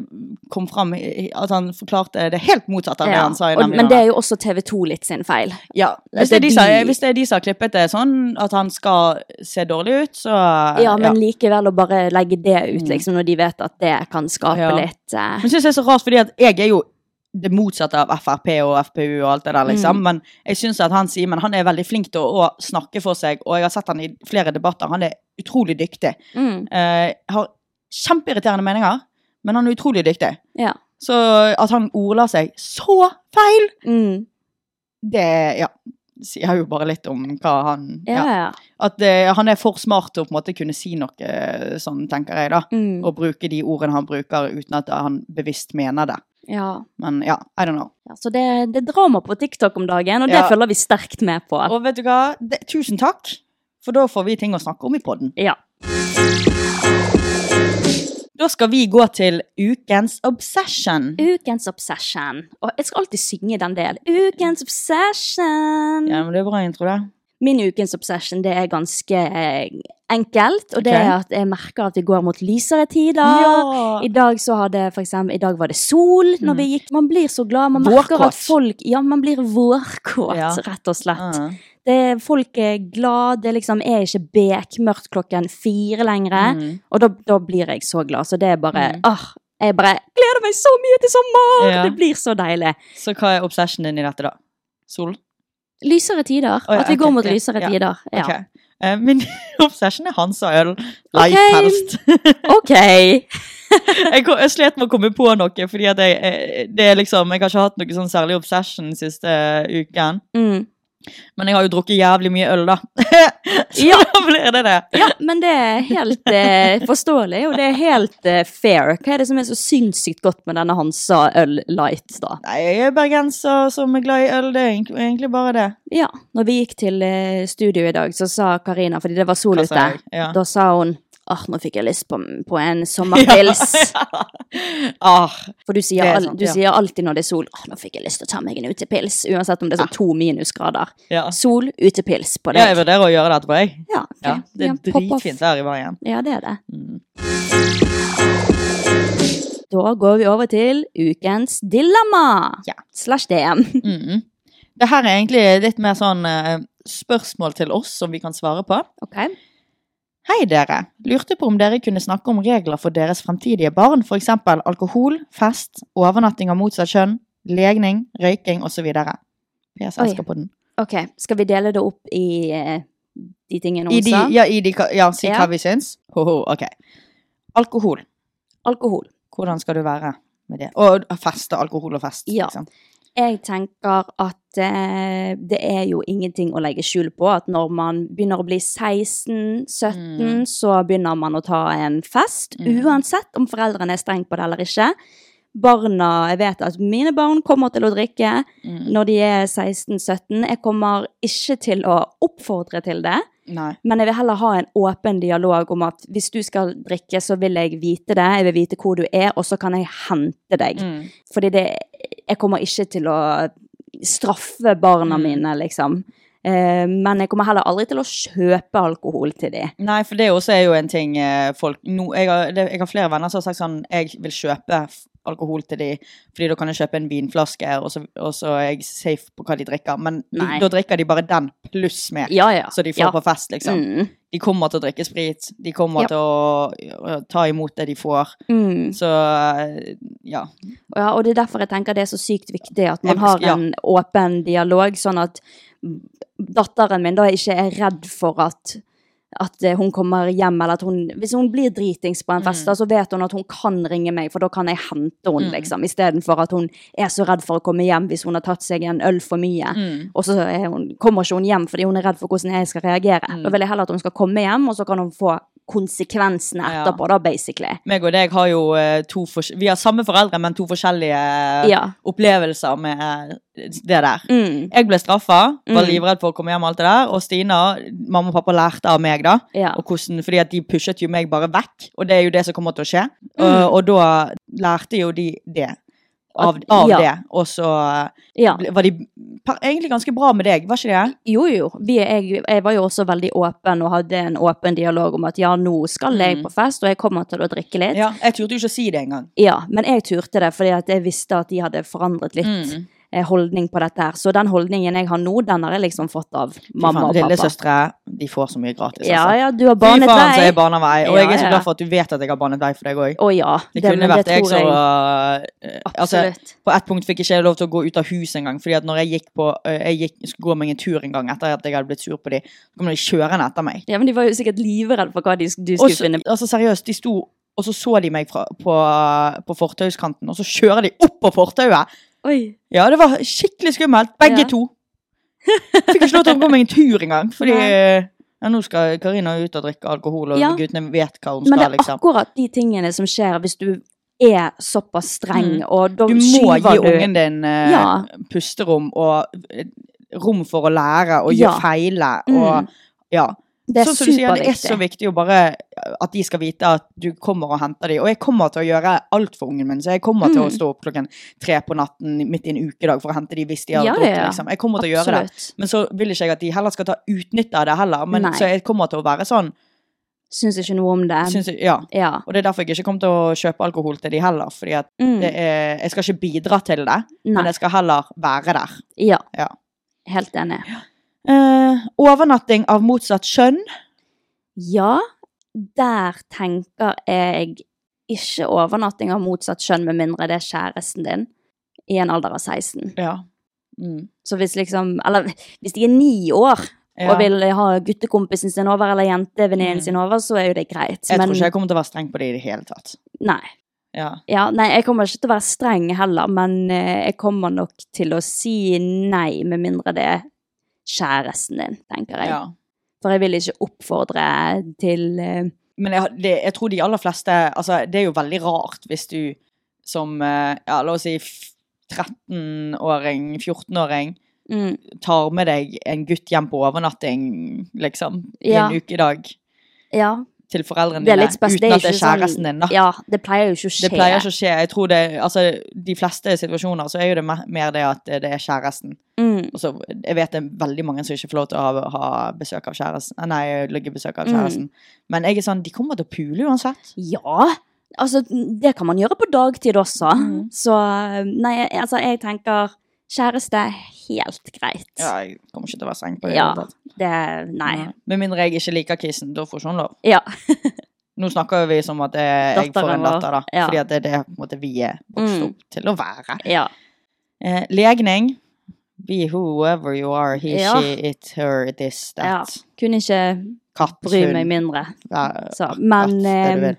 A: kom fram i- At han forklarte det helt motsatt av det
D: Ja,
A: han sa i
D: og-
A: den
D: Men det
A: videoen.
D: er jo også TV 2 litt sin feil.
A: Ja, hvis,
D: Altså,
A: det er de,
D: de-
A: som- hvis det er de som har klippet det sånn at han skal se dårlig ut, så
D: Ja, men likevel å bare legge det
A: Mm.
D: ut, liksom, når de vet at det kan skape
A: Ja.
D: litt eh,
A: Men jeg synes det er så rart, fordi at jeg er jo det motsatte av Frp og FPU og alt det der,
D: Mm.
A: liksom. Men jeg syns at han Simen han er veldig flink til å, å snakke for seg, og jeg har sett han i flere debatter. Han er utrolig dyktig.
D: mm,
A: Eh, har kjempeirriterende meninger, men han er utrolig dyktig.
D: Ja.
A: Så at han ordla seg så feil,
D: Mm,
A: det ja, sier jo bare litt om hva han
D: ja,
A: ja.
D: ja.
A: At eh, han er for smart til å på en måte kunne si noe sånn, tenker jeg, da.
D: Mm,
A: Og bruke de ordene han bruker uten at han bevisst mener det.
D: ja.
A: Men ja, I don't know.
D: ja. Så det, det er drama på TikTok om dagen, og det
A: Ja.
D: følger vi sterkt med på.
A: Og vet du hva? Det, tusen takk, for da får vi ting å snakke om i podden.
D: Ja.
A: Da skal vi gå til ukens obsession.
D: Ukens obsession. Og jeg skal alltid synge den del. Ukens obsession.
A: Ja, men Det er bra intro, det.
D: Min ukens obsession det er ganske eh, enkelt, og det
A: Ok.
D: er at jeg merker at vi går mot lysere tider.
A: Ja.
D: I dag så hadde for eksempel, i dag var det sol når vi gikk. Man blir så glad. Man merker
A: Mm. Vårkåt.
D: at folk Ja, man blir vårkåt,
A: Ja.
D: rett og slett.
A: Mm.
D: Det, folk er glad, det liksom er ikke bekmørkt klokken fire lenger.
A: Mm.
D: Og da, da blir jeg så glad. Så det er bare ah, Jeg bare gleder meg så mye til sommer!
A: Ja.
D: Det blir så deilig.
A: Så hva er obsessionen din i dette, da? Sol?
D: Lysere tider.
A: Å ja,
D: at vi går
A: ok,
D: mot
A: ja,
D: lysere
A: ja,
D: tider. Ja.
A: Ok. Eh, min obsession er Hans og øl. Life
D: Ok.
A: helst.
D: Ok!
A: jeg, kom, jeg slet med å komme på noe, fordi at jeg, eh, det er liksom, jeg har ikke hatt noe sånn særlig obsession siste eh, uken.
D: Mm.
A: Men jeg har jo drukket jævlig mye øl, da. Så
D: Ja.
A: da blir det det.
D: Ja, men det er helt eh, forståelig, og det er helt eh, fair. Hva er det som er så sinnssykt godt med denne Hansa Øl Light, da?
A: Nei, jeg er bergenser som er glad i øl. Det er egent- egentlig bare det.
D: Ja, når vi gikk til eh, studio i dag, så sa Karina, fordi det var sol
A: Hva sa
D: ute,
A: jeg? Ja.
D: da sa hun Åh, nå fikk jeg lyst på, på en sommerpils.
A: Ah,
D: For du sier,
A: Det er
D: al
A: sant,
D: du
A: ja.
D: sier alltid når det er sol, åh, nå fikk jeg lyst til å ta meg en utepils. Uansett om det er sånn to minusgrader.
A: ja.
D: Sol, utepils på
A: Ja,
D: deg.
A: jeg vurderer å gjøre det etterpå, jeg.
D: Ja, ok.
A: Ja, det
D: Ja,
A: er
D: pop off.
A: dritfint Mm. vær i Bergen.
D: Ja, det er det. Da går vi over til ukens dilemma.
A: Ja.
D: Slash DM.
A: Mm. Det her er egentlig litt mer sånn eh, spørsmål til oss som vi kan svare på.
D: Ok.
A: Hei dere, lurte på om dere kunne snakke om regler for deres fremtidige barn, for eksempel alkohol, fest, overnatting av motsatt kjønn, legning, røyking og så videre. PS
D: Oi.
A: elsker på den.
D: Ok, skal vi dele det opp i eh, de tingene
A: I
D: hun
A: de,
D: sa?
A: ja, i de, ka- ja, si
D: Ja.
A: hva vi syns. Ho, ho, ok. Alkohol,
D: Alkohol.
A: hvordan skal du være med det? Og fest, og alkohol og fest.
D: Ja.
A: Liksom.
D: Jeg tenker at eh, det er jo ingenting å legge skjul på at når man begynner å bli 16-17, så begynner man å ta en fest,
A: Mm.
D: uansett om foreldrene er strengt på det eller ikke. Barna, jeg vet at mine barn kommer til å drikke
A: Mm.
D: når de er 16-17. Jeg kommer ikke til å oppfordre til det.
A: Nei.
D: Men jeg vil heller ha en åpen dialog om at hvis du skal drikke, så vil jeg vite det. Jeg vil vite hvor du er, og så kan jeg hente deg.
A: Mm.
D: Fordi det, eh, jeg kommer ikke til å straffe barna
A: Mm.
D: mine, liksom. Eh, men jeg kommer heller aldri til å kjøpe alkohol til dem.
A: Nei, for det også er jo en ting eh, folk no, jeg, har, det, jeg har flere venner som har sagt sånn Jeg vil kjøpe f- alkohol til de, fordi da kan jeg kjøpe en vinflaske, og så, og så er jeg safe på hva de drikker. Men de,
D: Nei.
A: da drikker de bare den pluss med,
D: Ja, ja.
A: så de får
D: ja.
A: på fest, liksom.
D: Mm.
A: De kommer til å drikke sprit, de kommer
D: Ja.
A: til å, å ta imot det de får.
D: Mm.
A: Så eh, ja.
D: Ja, og det er derfor jeg tenker det er så sykt viktig at man
A: Jeg-
D: har
A: ja.
D: en åpen dialog, sånn at datteren min da ikke er redd for at at eh, hun kommer hjem, eller at hun Hvis hun blir dritings på en fest, da, så vet hun at hun kan ringe meg, for da kan jeg hente henne, liksom. Istedenfor at hun er så redd for å komme hjem hvis hun har tatt seg en øl for mye. Og så er hun, kommer ikke hun hjem fordi hun er redd for hvordan jeg skal reagere. Da vil jeg heller at hun skal komme hjem, og så kan hun få konsekvensene
A: Ja.
D: etterpå, da, basically.
A: Meg og deg har jo eh, to fors- Vi har samme foreldre, men to forskjellige eh,
D: Ja.
A: opplevelser med eh, det der.
D: Mm.
A: Jeg ble straffa, var
D: Mm.
A: livredd for å komme hjem og alt det der. Og Stina, mamma og pappa lærte av meg, da.
D: Ja.
A: Og hvordan, fordi at de pushet jo meg bare vekk, og det er jo det som kommer til å skje.
D: Mm.
A: Og, og da lærte jo de det. Av,
D: At-
A: av
D: ja.
A: det. Og så
D: ja.
A: ble- var de per- egentlig ganske bra med deg, var ikke det?
D: Jo, jo. Vi, jeg, jeg var jo også veldig åpen og hadde en åpen dialog om at ja, nå skal jeg på fest, og jeg kommer til å drikke litt.
A: Mm. Ja, jeg turte jo ikke å si det engang.
D: Ja, men jeg turte det, fordi at jeg visste at de hadde forandret litt
A: Mm.
D: eh, holdning på dette her. Så den holdningen jeg har nå, den har jeg liksom fått av mamma og pappa.
A: Lillesøstre, de får så mye gratis.
D: Ja,
A: altså.
D: ja, du har
A: Fy
D: banet
A: faen, så
D: vei.
A: jeg baner vei. Og
D: Ja,
A: jeg er så
D: ja.
A: glad for at du vet at jeg har banet vei for deg òg.
D: Å ja.
A: Det kunne
D: men
A: vært jeg
D: tror
A: som eh, altså,
D: Absolutt.
A: På et punkt fikk jeg ikke lov til å gå ut av huset engang. Fordi at når jeg gikk på eh, Jeg gikk, skulle gå meg en tur en gang etter at jeg hadde blitt sur på dem, så kom de kjørende etter meg.
D: Ja, men de var jo sikkert livredde for hva de, du
A: Og
D: skulle
A: så-
D: finne på.
A: altså seriøst, de sto og så så de meg fra, på, på fortauskanten, og så kjører de opp på fortauet!
D: Oi.
A: Ja, det var skikkelig skummelt. Begge
D: Ja.
A: to. Fikk ikke lov til å gå meg en tur engang, fordi eh,
D: Nei.
A: ja, nå skal Karina ut og drikke alkohol, og
D: Ja.
A: guttene vet hva hun
D: Men
A: skal,
D: det er
A: liksom.
D: akkurat de tingene som skjer hvis du er såpass streng,
A: Mm.
D: og da
A: Du må
D: skyver
A: gi
D: du
A: ungen din eh,
D: Ja.
A: pusterom og eh, rom for å lære og gjøre
D: Ja.
A: feile.
D: Mm.
A: Og ja.
D: Det er
A: Sånn som du sier, det er så
D: superviktig.
A: viktig å bare eh, at de skal vite at du kommer og henter dem. Og jeg kommer til å gjøre alt for ungen min, så jeg kommer til å
D: Mm.
A: stå opp klokken tre på natten midt i en ukedag for å hente dem hvis de har
D: Ja,
A: drukket.
D: ja, ja.
A: Liksom. Jeg kommer til å gjøre det.
D: Absolutt.
A: Men så vil ikke jeg at de heller skal ta utnytte av det heller. Men,
D: Nei.
A: så jeg kommer til å være sånn,
D: Syns ikke noe om det.
A: syns jeg, ja.
D: Ja.
A: Og det er derfor jeg ikke kommer til å kjøpe alkohol til de heller. Fordi at
D: Mm.
A: det er, jeg skal ikke bidra til det,
D: Nei.
A: men jeg skal heller være der.
D: ja.
A: Ja.
D: Helt enig.
A: Eh, overnatting av motsatt kjønn.
D: Ja, der tenker jeg ikke overnatting av motsatt kjønn, med mindre det er kjæresten din i en alder av 16.
A: Ja. Mm.
D: Så hvis liksom Eller hvis de er ni år
A: Ja.
D: og vil ha guttekompisen sin over eller jentevenninnen
A: Mm.
D: sin over, så er jo det greit.
A: Jeg tror ikke jeg kommer til å være streng på det i det hele tatt.
D: Nei.
A: Ja.
D: Ja, nei, jeg kommer ikke til å være streng heller, men eh, jeg kommer nok til å si nei, med mindre det er kjæresten din, tenker jeg.
A: Ja.
D: For jeg vil ikke oppfordre til eh,
A: Men jeg, det, jeg tror de aller fleste Altså, det er jo veldig rart hvis du som eh, Ja, la oss si f- 13-åring, 14-åring
D: mm,
A: tar med deg en gutt hjem på overnatting, liksom, i
D: Ja.
A: en ukedag.
D: Ja,
A: til foreldrene
D: Det er
A: dine
D: litt spes-
A: uten at det
D: ikke
A: er kjæresten din. da.
D: Sånn, ja, det pleier jo ikke å skje.
A: Det pleier ikke å skje. Jeg tror det, altså, De fleste situasjoner så er jo det me- mer det at det er kjæresten.
D: Mm.
A: Og så, jeg vet det er veldig mange som ikke får lov til å ha, ha besøk av kjæresten. eh, Nei, liggebesøk av
D: Mm.
A: kjæresten. Men jeg er sånn, de kommer til å pule uansett.
D: Ja, altså det kan man gjøre på dagtid også.
A: Mhm.
D: Så nei, altså jeg tenker kjæreste er helt greit.
A: Ja, jeg kommer ikke til å være streng på det. i
D: Ja,
A: det hele tatt.
D: det Nei.
A: Med mindre jeg ikke liker kissen, da får ikke hun lov.
D: Ja.
A: Nå snakker vi som at eh, jeg får
D: Datteren
A: en datter, da.
D: vår, ja.
A: Fordi at det er det på en måte, vi er vokst
D: Mm.
A: opp til å være.
D: ja.
A: Eh, legning. Be whoever you are. He,
D: Ja.
A: she, it, her, it is,
D: ja.
A: that.
D: Kunne ikke
A: Katt,
D: bry
A: hund,
D: meg mindre.
A: ja,
D: Så,
A: akkurat
D: men
A: det du
D: eh,
A: vil.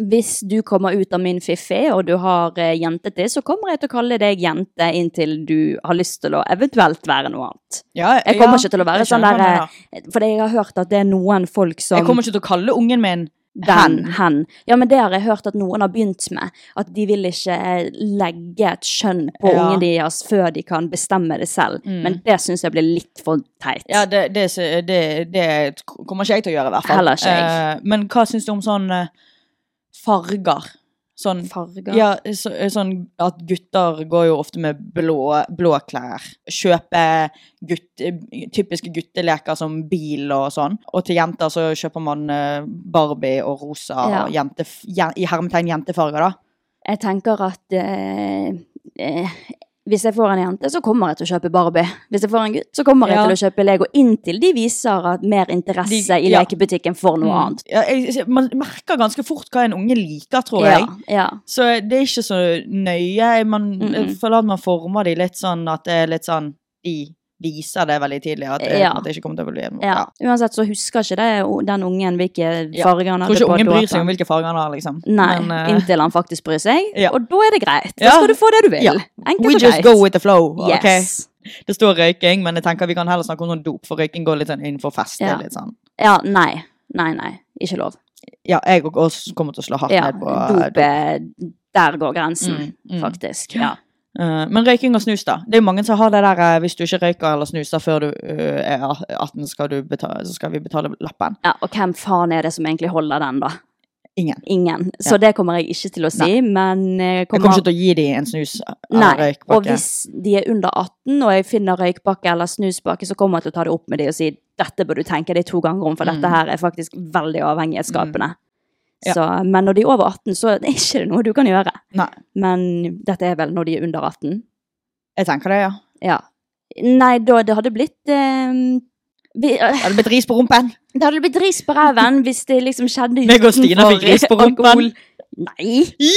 D: hvis du kommer ut av min fiffi, og du har eh, jentete, så kommer jeg til å kalle deg jente inntil du har lyst til å eventuelt være noe annet.
A: Ja,
D: Jeg kommer
A: ja,
D: ikke til å være
A: jeg
D: sånn
A: skjønner hva
D: der
A: du
D: eh,
A: mener.
D: Fordi jeg har hørt at det er noen folk som
A: Jeg kommer ikke til å kalle ungen min
D: den, hen. Ja, men det har jeg hørt at noen har begynt med. At de vil ikke eh, legge et skjønn på
A: Ja.
D: ungen deres før de kan bestemme det selv.
A: Mm.
D: Men det syns jeg blir litt for teit.
A: Ja, det, det, det, det kommer ikke jeg til å gjøre, i hvert fall.
D: Heller ikke jeg.
A: Eh, men hva syns du om sånn eh, farger? Sånn
D: Farger.
A: Ja, så, sånn at gutter går jo ofte med blå, blå klær. Kjøper gutt, typiske gutteleker som bil og sånn. Og til jenter så kjøper man eh, Barbie og rosa
D: Ja.
A: og jente, jen- i hermetegn jentefarger, da.
D: Jeg tenker at eh, eh, hvis jeg får en jente, så kommer jeg til å kjøpe Barbie. Hvis jeg får en gutt, så kommer jeg
A: Ja.
D: til å kjøpe Lego. Inntil de viser at mer interesse
A: De-
D: i
A: ja. Mm.
D: lekebutikken for noe annet.
A: Ja, jeg, man merker ganske fort hva en unge liker, tror
D: Ja,
A: jeg.
D: ja.
A: Så det er ikke så nøye. Man jeg føler at man former de litt sånn at det er litt sånn De viser det veldig tidlig, at, det-
D: Ja.
A: at det ikke kommer til å bli en
D: Ja. Eh, Uansett så husker ikke det, den ungen hvilke
A: Ja.
D: farger han hadde
A: Tror ikke
D: på
A: ungen bryr
D: dåpen.
A: seg om hvilke farger han har, liksom.
D: Nei,
A: Men, eh,
D: inntil han faktisk bryr seg.
A: Ja.
D: Og da er det greit. Da
A: Ja.
D: skal du få det du vil.
A: Ja. We
D: Enkelt og greit.
A: just go with the flow. ok?
D: Yes.
A: Det står røyking, men jeg tenker vi kan heller snakke om noen dop, for røyking går litt sånn innenfor fest. det er
D: Ja.
A: Litt sånn.
D: Ja, nei. Nei, nei. Ikke lov.
A: Ja, jeg og- også kommer til å slå hardt
D: Ja,
A: ned på eh,
D: dop eh, Der går grensen,
A: Mm, mm.
D: faktisk. Ja.
A: Eh, Men røyking og snus, da. Det er jo mange som har det der eh, hvis du ikke røyker eller snuser før du eh, er 18, skal du betale, så skal vi betale lappen.
D: ja. Og hvem faen er det som egentlig holder den, da?
A: Ingen.
D: Ingen. Så det kommer jeg ikke til å si, men eh,
A: Jeg kommer ikke til å gi dem en snus eller
D: Nei, og
A: røykpakke.
D: hvis de er under 18 og jeg finner røykpakke eller snuspakke, så kommer jeg til å ta det opp med de og si dette bør du tenke deg to ganger om, for dette
A: Mm.
D: her er faktisk veldig avhengighetsskapende.
A: Ja.
D: Så, men når de er over 18, så er det ikke noe du kan gjøre.
A: Mm. Nei,
D: Men dette er vel når de er under 18.
A: jeg tenker det, ja.
D: Ja. Nei, da det hadde blitt eh, vi, eh,
A: Det hadde blitt ris på rumpen.
D: Det hadde blitt ris på ræven hvis det liksom skjedde
A: Meg og Stina fikk ris på rumpen.
D: alkohol. Nei!
A: I,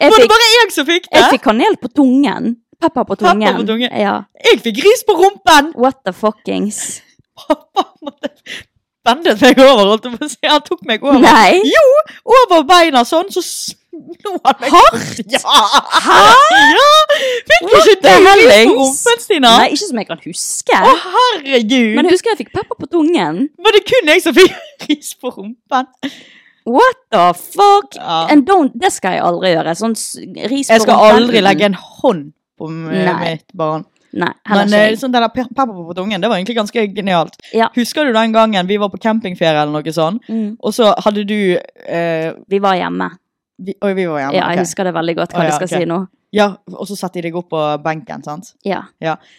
D: Jeg
A: var det
D: fikk,
A: bare jeg som fikk det?
D: jeg fikk kanel på tungen. Pepper på
A: Pepper
D: tungen.
A: på tungen.
D: Ja.
A: Jeg fikk ris på rumpen!
D: What the fuckings.
A: Pappa måtte bendet meg over, holdt jeg på å si. Han tok meg over.
D: Nei.
A: Jo! Over beina sånn, så slo han meg.
D: Hardt?
A: Ja! Ja! Fikk ikke
D: What
A: du
D: the
A: ris på
D: hellings?
A: rumpen, Stina?
D: Nei, ikke som jeg kan huske.
A: Å, herregud!
D: Men jeg husker jeg fikk pepper på tungen.
A: Var det kun jeg som fikk ris på rumpen?
D: What the fuck?
A: Ja.
D: And don't, det skal jeg aldri gjøre. Sånn s- ris på
A: Jeg skal
D: rumpen.
A: aldri legge en hånd på m-
D: Nei.
A: mitt barn.
D: Nei, heller
A: Men eh,
D: ikke jeg.
A: sånn den der pe- pepper på tungen, det var egentlig ganske genialt.
D: Ja.
A: Husker du den gangen vi var på campingferie eller noe sånn,
D: Mm.
A: og så hadde du eh,
D: Vi var hjemme.
A: vi, Oi, vi var hjemme.
D: Ja, jeg
A: ok.
D: husker det veldig godt hva
A: Å, ja,
D: jeg skal
A: ok.
D: si nå.
A: ja, og så satte de deg opp på benken, sant?
D: Ja.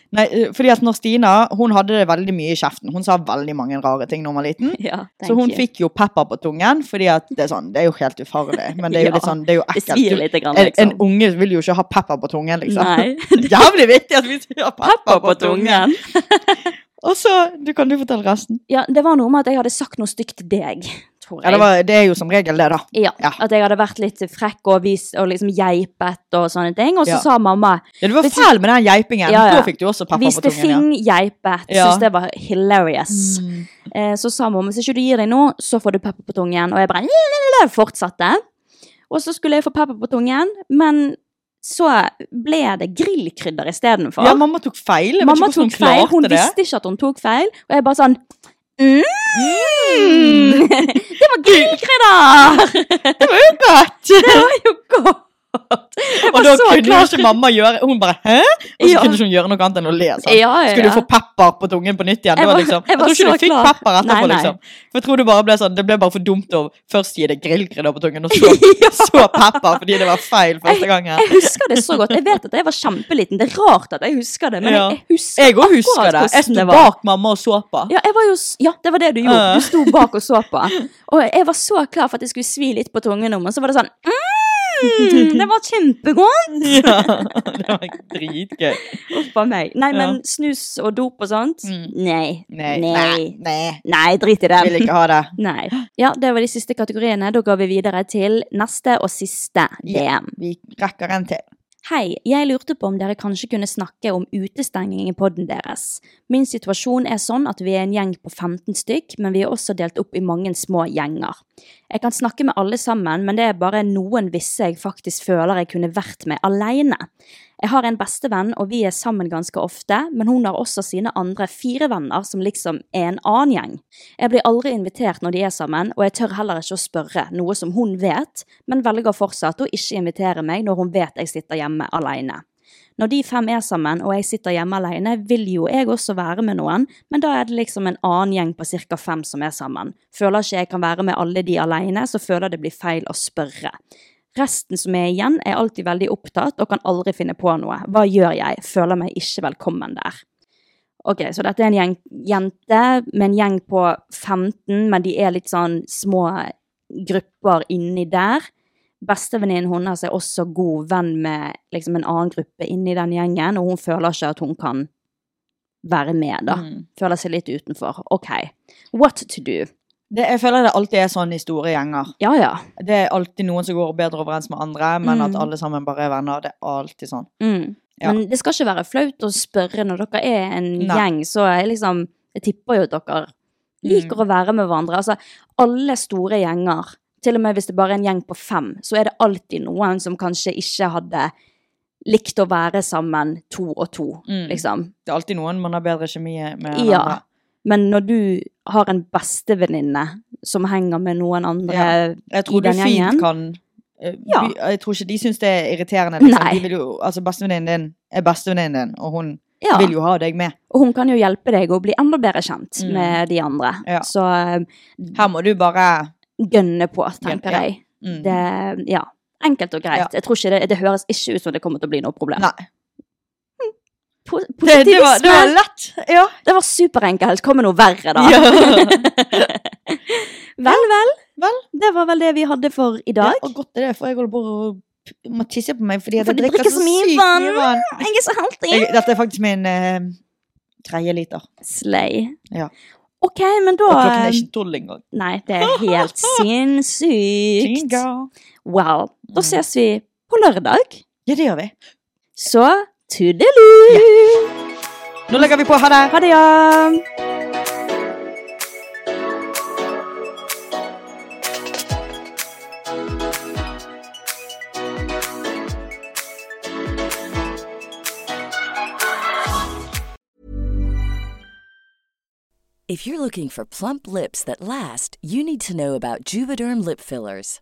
A: Nei, eh, fordi at når Stina, hun hadde det veldig mye i kjeften. Hun sa veldig mange rare ting når hun var liten.
D: ja
A: Så hun fikk jo pepper på tungen, fordi at det er sånn, det er jo helt ufarlig, men det er jo
D: Ja.
A: litt sånn, det er jo
D: Det
A: ekkelt.
D: svir lite grann,
A: en, en
D: liksom.
A: unge vil jo ikke ha pepper på tungen, liksom.
D: Nei.
A: Jævlig viktig at vi sier pepper på tungen.
D: tungen.
A: Og så, du kan du fortelle resten.
D: Ja, det var noe med at jeg hadde sagt noe stygt til deg, tror
A: Ja,
D: jeg.
A: det, var, det er jo som regel det, da.
D: Ja,
A: Ja.
D: At jeg hadde vært litt frekk og, vis, og liksom geipet og sånne ting. Og så
A: Ja.
D: sa mamma
A: Ja, du var
D: Hvis-
A: fæl med den geipingen.
D: Ja, ja.
A: Da fikk du også pepper
D: Hvis
A: på
D: det
A: tungen.
D: fing geipet.
A: Ja. Mm.
D: Syns det var hilarious. Eh, så sa mamma hvis ikke du gir deg nå, så får du pepper på tungen. Og jeg bare lalalala, fortsatte. Og så skulle jeg få pepper på tungen, men så ble det grillkrydder
A: Ja.
D: istedenfor.
A: ja, mamma tok feil. Jeg vet
D: Mamma
A: ikke hvordan
D: tok feil. Hun
A: klarte det.
D: visste ikke at hun tok feil. Og jeg bare sånn mm. Det var grillkrydder!
A: Det var jo godt!
D: Det var jo godt!
A: Jeg
E: Og
A: var
E: da
A: så
E: kunne jo
A: klar.
E: ikke mamma gjøre Hun bare 'hæ?' Og så
A: Ja.
E: kunne ikke hun gjøre noe annet enn å le. sant?
A: Ja, ja,
E: Skulle
A: ja.
E: du få pepper på tungen på nytt igjen?
A: Jeg
E: Jeg,
A: var-
E: liksom,
A: jeg
E: jeg,
A: var
E: tror ikke
A: så
E: du fikk
A: klar.
E: pepper etterpå.
A: Nei, nei.
E: liksom. For jeg tror det bare ble sånn, det ble bare for dumt å først gi det grillkrydder på tungen, og så, så pepper fordi det var feil første gangen.
A: Jeg husker det så godt. Jeg vet at jeg var kjempeliten. Det er rart at jeg husker det, men
E: Ja.
A: jeg, jeg husker
E: Jeg òg husker det. Jeg
A: akkurat hvordan
E: sto
A: det var.
E: bak mamma og så på.
A: Ja, jeg var jo, s- ja, det var det du gjorde.
E: Ja.
A: Du sto bak og så på. Og jeg var så klar for at jeg skulle svi litt på tungen om, og så var det sånn mm, Det var kjempegodt!
E: Ja, det var dritgøy.
A: Uff a meg. Nei,
E: Ja.
A: men snus og dop og sånt? Nei.
E: Nei.
A: Nei.
E: Nei.
A: Nei, drit i
E: Vil
A: det.
E: ikke ha det.
A: Nei. Ja, det var de siste kategoriene. Da går vi videre til neste og siste
E: Ja,
A: DM.
E: vi rekker en til.
A: Hei, jeg lurte på om dere kanskje kunne snakke om utestenging i podden deres. Min situasjon er sånn at vi er en gjeng på 15 stykk, men vi er også delt opp i mange små gjenger. Jeg kan snakke med alle sammen, men det er bare noen visse jeg faktisk føler jeg kunne vært med alene. Jeg har en bestevenn, og vi er sammen ganske ofte, men hun har også sine andre fire venner, som liksom er en annen gjeng. Jeg blir aldri invitert når de er sammen, og jeg tør heller ikke å spørre, noe som hun vet, men velger fortsatt å ikke invitere meg når hun vet jeg sitter hjemme alene. Når de fem er sammen og jeg sitter hjemme alene, vil jo jeg også være med noen, men da er det liksom en annen gjeng på ca. fem som er sammen. Føler ikke jeg kan være med alle de alene, så føler det blir feil å spørre. Resten som er igjen, er alltid veldig opptatt og kan aldri finne på noe. Hva gjør jeg? Føler meg ikke velkommen der. Ok, så dette er en gjeng, jente med en gjeng på 15, men de er litt sånn små grupper inni der. Bestevenninnen hennes er også god venn med liksom en annen gruppe inni den gjengen, og hun føler ikke at hun kan være med, da.
E: Mm.
A: Føler seg litt utenfor. Ok, what to do?
E: Det, jeg føler det alltid er sånn i store gjenger.
A: Ja, ja.
E: Det er alltid noen som går bedre overens med andre, men at
A: Mm.
E: alle sammen bare er venner. Det er alltid sånn.
A: Mm.
E: Ja.
A: Men det skal ikke være flaut å spørre når dere er en
E: Nei.
A: gjeng, så jeg liksom Jeg tipper jo at dere liker
E: Mm.
A: å være med hverandre. Altså, alle store gjenger, til og med hvis det bare er en gjeng på fem, så er det alltid noen som kanskje ikke hadde likt å være sammen to og to,
E: Mm.
A: liksom.
E: Det er alltid noen man har bedre kjemi med enn
A: Ja.
E: andre.
A: Men når du har en bestevenninne som henger med noen andre
E: Jeg tror
A: i den
E: du fint
A: gjengen
E: kan eh,
A: Ja.
E: by- Jeg tror ikke de syns det er irriterende. Liksom.
A: Nei.
E: De vil jo, altså Bestevenninnen din er bestevenninnen din, og hun
A: ja.
E: vil jo ha deg med.
A: Og hun kan jo hjelpe deg å bli enda bedre kjent
E: Mm.
A: med de andre.
E: Ja.
A: Så eh,
E: Her må du bare
A: gønne på, tenker
E: Ja.
A: jeg.
E: mm.
A: Det, ja, enkelt og greit.
E: Ja.
A: Jeg tror ikke det, det høres ikke ut som det kommer til å bli noe problem. Hm.
E: Nei.
A: Po-
E: Det,
A: Positivisme!
E: det, var, det var lett. Ja.
A: superenkelt. Kommer noe verre, da. vel, vel,
E: Vel.
A: Det var vel det vi hadde for i dag.
E: Ja, og godt er det, for jeg holder på å p- må tisse på meg fordi at
A: For
E: jeg
A: du
E: drikker
A: drikker
E: så
A: så mye
E: sykt
A: vann.
E: mye vann.
A: Jeg er så healthy!
E: Jeg, dette er faktisk min eh, tredje liter.
A: Slay.
E: Ja.
A: OK, men da
E: Og klokken er ikke tolv engang.
A: Nei, det er helt sinnssykt.
E: Jingle.
A: Wow. Da
E: Mm.
A: ses vi på lørdag.
E: Ja, det gjør vi.
A: Så tudelu!
E: Nå legger vi på. Ha det.
A: Ha det, ja.
D: If you're looking for plump lips that last, you need to know about Juvederm lip fillers.